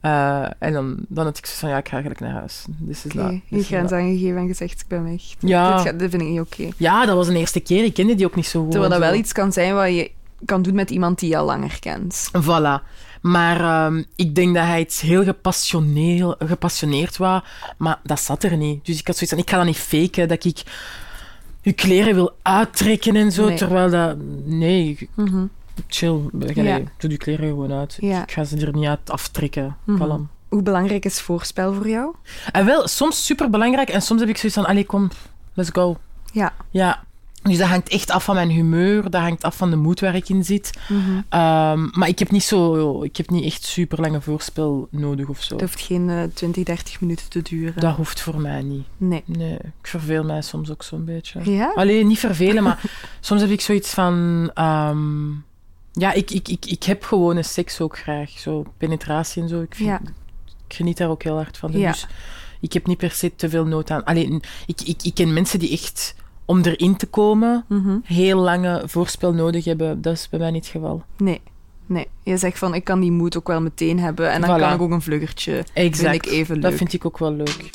[SPEAKER 4] Eh, en dan, dan had ik zoiets van... Ja, ik ga eigenlijk naar huis. This is
[SPEAKER 6] Oké,
[SPEAKER 4] that.
[SPEAKER 6] je
[SPEAKER 4] This is
[SPEAKER 6] grens
[SPEAKER 4] that.
[SPEAKER 6] aangegeven en gezegd, ik ben weg. Dit-
[SPEAKER 4] dus Ja.
[SPEAKER 6] Dit, gaat- dit vind ik niet oké.
[SPEAKER 4] Ja, dat was de eerste keer. Ik kende die ook niet zo goed.
[SPEAKER 6] Terwijl dat
[SPEAKER 4] en zo.
[SPEAKER 6] wel iets kan zijn wat je kan doen met iemand die je al langer kent.
[SPEAKER 4] Voilà. Maar ehm, ik denk dat hij iets heel gepassioneel, gepassioneerd was, maar dat zat er niet. Dus ik had zoiets van, ik ga dat niet faken, dat ik je kleren wil uittrekken en zo,
[SPEAKER 6] Nee.
[SPEAKER 4] terwijl dat... Nee, ik-
[SPEAKER 6] Mhm.
[SPEAKER 4] chill. Allee,
[SPEAKER 6] Ja.
[SPEAKER 4] Doe die kleren gewoon uit.
[SPEAKER 6] Ja.
[SPEAKER 4] Ik ga ze er niet uit aftrekken.
[SPEAKER 6] Mhm.
[SPEAKER 4] Kalm.
[SPEAKER 6] Hoe belangrijk is voorspel voor jou?
[SPEAKER 4] En Ah, wel, soms superbelangrijk en soms heb ik zoiets van, allee, kom, let's go.
[SPEAKER 6] Ja.
[SPEAKER 4] Ja. Dus dat hangt echt af van mijn humeur, dat hangt af van de moed waar ik in zit.
[SPEAKER 6] Mhm.
[SPEAKER 4] Ehm, maar ik heb niet zo, ik heb niet echt super lange voorspel nodig of zo.
[SPEAKER 6] Het hoeft geen eh, 20, 30 minuten te duren.
[SPEAKER 4] Dat hoeft voor mij niet.
[SPEAKER 6] Nee.
[SPEAKER 4] Nee, ik verveel mij soms ook zo'n beetje.
[SPEAKER 6] Ja?
[SPEAKER 4] Alleen niet vervelen, maar soms heb ik zoiets van. ehm, ja, ik, ik, ik, ik heb gewone seks ook graag. Zo penetratie en zo. Ik, vind-
[SPEAKER 6] Ja.
[SPEAKER 4] ik geniet daar ook heel hard van.
[SPEAKER 6] Ja.
[SPEAKER 4] Dus ik heb niet per se te veel nood aan. Alleen, ik, ik, ik ken mensen die echt om erin te komen
[SPEAKER 6] Mhm.
[SPEAKER 4] heel lange voorspel nodig hebben. Dat is bij mij niet het geval.
[SPEAKER 6] Nee. Nee. Je zegt van, ik kan die moed ook wel meteen hebben en dan
[SPEAKER 4] Voilà.
[SPEAKER 6] kan ik ook een vluggertje.
[SPEAKER 4] Exact.
[SPEAKER 6] Vind ik even
[SPEAKER 4] Dat
[SPEAKER 6] leuk.
[SPEAKER 4] vind ik ook wel leuk.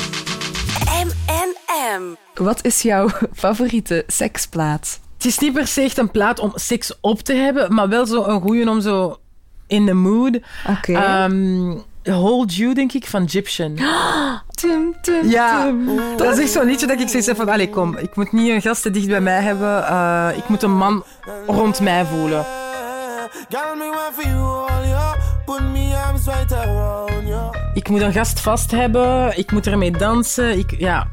[SPEAKER 2] M&M.
[SPEAKER 6] Wat is jouw favoriete seksplaat?
[SPEAKER 4] Het is niet per se echt een plaat om seks op te hebben, maar wel zo een goeie om zo in the mood.
[SPEAKER 6] Oké.
[SPEAKER 4] Ehm, Hold You, denk ik, van Egyptian.
[SPEAKER 6] Tum, tum,
[SPEAKER 4] Ja,
[SPEAKER 6] tum.
[SPEAKER 4] dat is echt zo'n liedje dat ik zoiets heb van... Allee, kom, ik moet niet een gast te dicht bij mij hebben. eh, ik moet een man rond mij voelen.
[SPEAKER 7] Girl, me want for you all, yo. Put me arms right around you.
[SPEAKER 4] Ik moet een gast vast hebben. Ik moet ermee dansen. Ik, ja.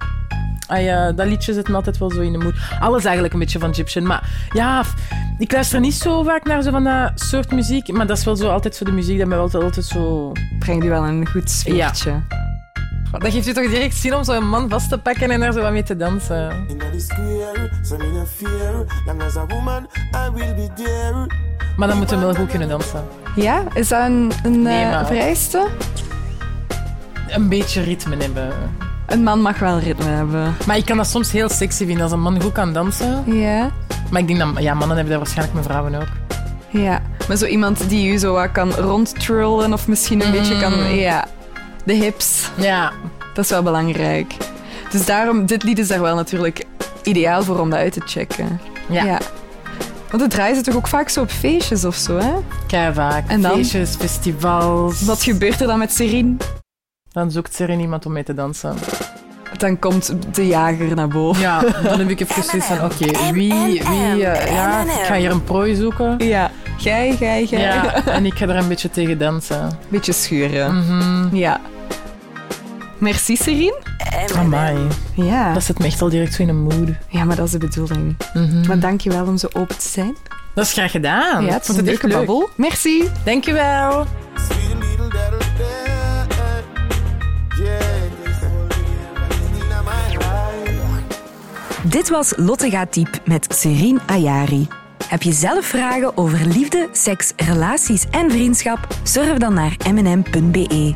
[SPEAKER 4] Ah ja, dat liedje zit me altijd wel zo in de moed. Alles eigenlijk een beetje van Egyptian. Maar ja, f- ik luister niet zo vaak naar zo van dat soort muziek. Maar dat is wel zo altijd zo de muziek dat mij wel altijd, altijd zo...
[SPEAKER 6] Breng die wel een goed sfeertje.
[SPEAKER 4] Dat geeft je toch direct zin om zo'n man vast te pakken en daar zo wat mee te dansen.
[SPEAKER 7] In the square, so me no fear. Long as a woman, I will be there.
[SPEAKER 4] Maar dan moeten we wel goed kunnen dansen.
[SPEAKER 6] Ja? Is dat een, een
[SPEAKER 4] Nee,
[SPEAKER 6] eh,
[SPEAKER 4] maar-
[SPEAKER 6] vereiste?
[SPEAKER 4] Een beetje ritme hebben.
[SPEAKER 6] Een man mag wel ritme hebben.
[SPEAKER 4] Maar ik kan dat soms heel sexy vinden als een man goed kan dansen.
[SPEAKER 6] Ja?
[SPEAKER 4] Maar ik denk dat ja, mannen hebben dat waarschijnlijk, maar vrouwen ook.
[SPEAKER 6] Ja, maar zo iemand die u zo wat kan rondtrullen of misschien een beetje kan... Ja, de hips,
[SPEAKER 4] Ja,
[SPEAKER 6] dat is wel belangrijk. Dus daarom, dit lied is daar wel natuurlijk ideaal voor om dat uit te checken.
[SPEAKER 4] ja.
[SPEAKER 6] Want het draaien ze toch ook vaak zo op feestjes of zo, hè?
[SPEAKER 4] Kei vaak.
[SPEAKER 6] En dan?
[SPEAKER 4] Feestjes, festivals.
[SPEAKER 6] Wat gebeurt er dan met Serene?
[SPEAKER 4] Dan zoekt ze er iemand om mee te dansen.
[SPEAKER 6] Dan komt de jager naar boven.
[SPEAKER 4] Ja, dan heb ik even zoiets van, oké, wie, wie, eh, ja, ik ga hier een prooi zoeken.
[SPEAKER 6] Ja. Gij, gij, gij.
[SPEAKER 4] Ja, en ik ga er een beetje tegen dansen.
[SPEAKER 6] Beetje schuren. Ja. Merci, Serene.
[SPEAKER 4] Amai,
[SPEAKER 6] Ja.
[SPEAKER 4] dat zit me echt al direct zo in een mood.
[SPEAKER 6] ja, maar dat is de bedoeling. Maar dank je wel om zo open te zijn.
[SPEAKER 4] Dat is graag gedaan.
[SPEAKER 6] ja,
[SPEAKER 4] Ik
[SPEAKER 6] het was
[SPEAKER 4] vond
[SPEAKER 6] een
[SPEAKER 4] echt
[SPEAKER 6] leuke
[SPEAKER 4] leuk.
[SPEAKER 6] babbel. Merci.
[SPEAKER 4] Dankjewel.
[SPEAKER 7] Sweet little daddy, yeah. Yeah, in my life.
[SPEAKER 1] Dit was Lotte gaat diep met Serine Ayari. Heb je zelf vragen over liefde, seks, relaties en vriendschap? Surf dan naar mnm.be. E.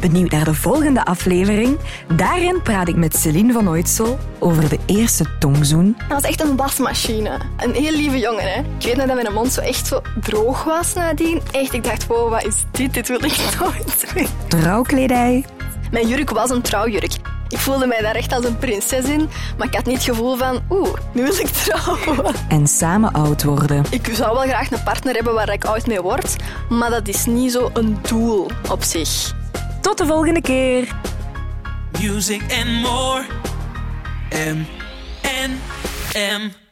[SPEAKER 1] Benieuwd naar de volgende aflevering? Daarin praat ik met Celine van Ooitsel over de eerste tongzoen,
[SPEAKER 8] Hij was echt een wasmachine. Eh, Een heel lieve jongen, hè. Ik weet nog dat mijn mond zo echt zo droog was nadien. Echt, ik dacht, wow, wat is dit? Dit wil ik nooit doen.
[SPEAKER 1] trouwkledij
[SPEAKER 8] Mijn jurk was een trouwjurk. Ik voelde mij daar echt als een prinses in. Maar ik had niet het gevoel van, oeh, nu wil ik trouwen.
[SPEAKER 1] en samen oud worden.
[SPEAKER 8] Ik zou wel graag een partner hebben waar ik oud mee word. Maar dat is niet zo een doel op zich.
[SPEAKER 1] Tot de volgende keer!
[SPEAKER 2] Music and more. M&M.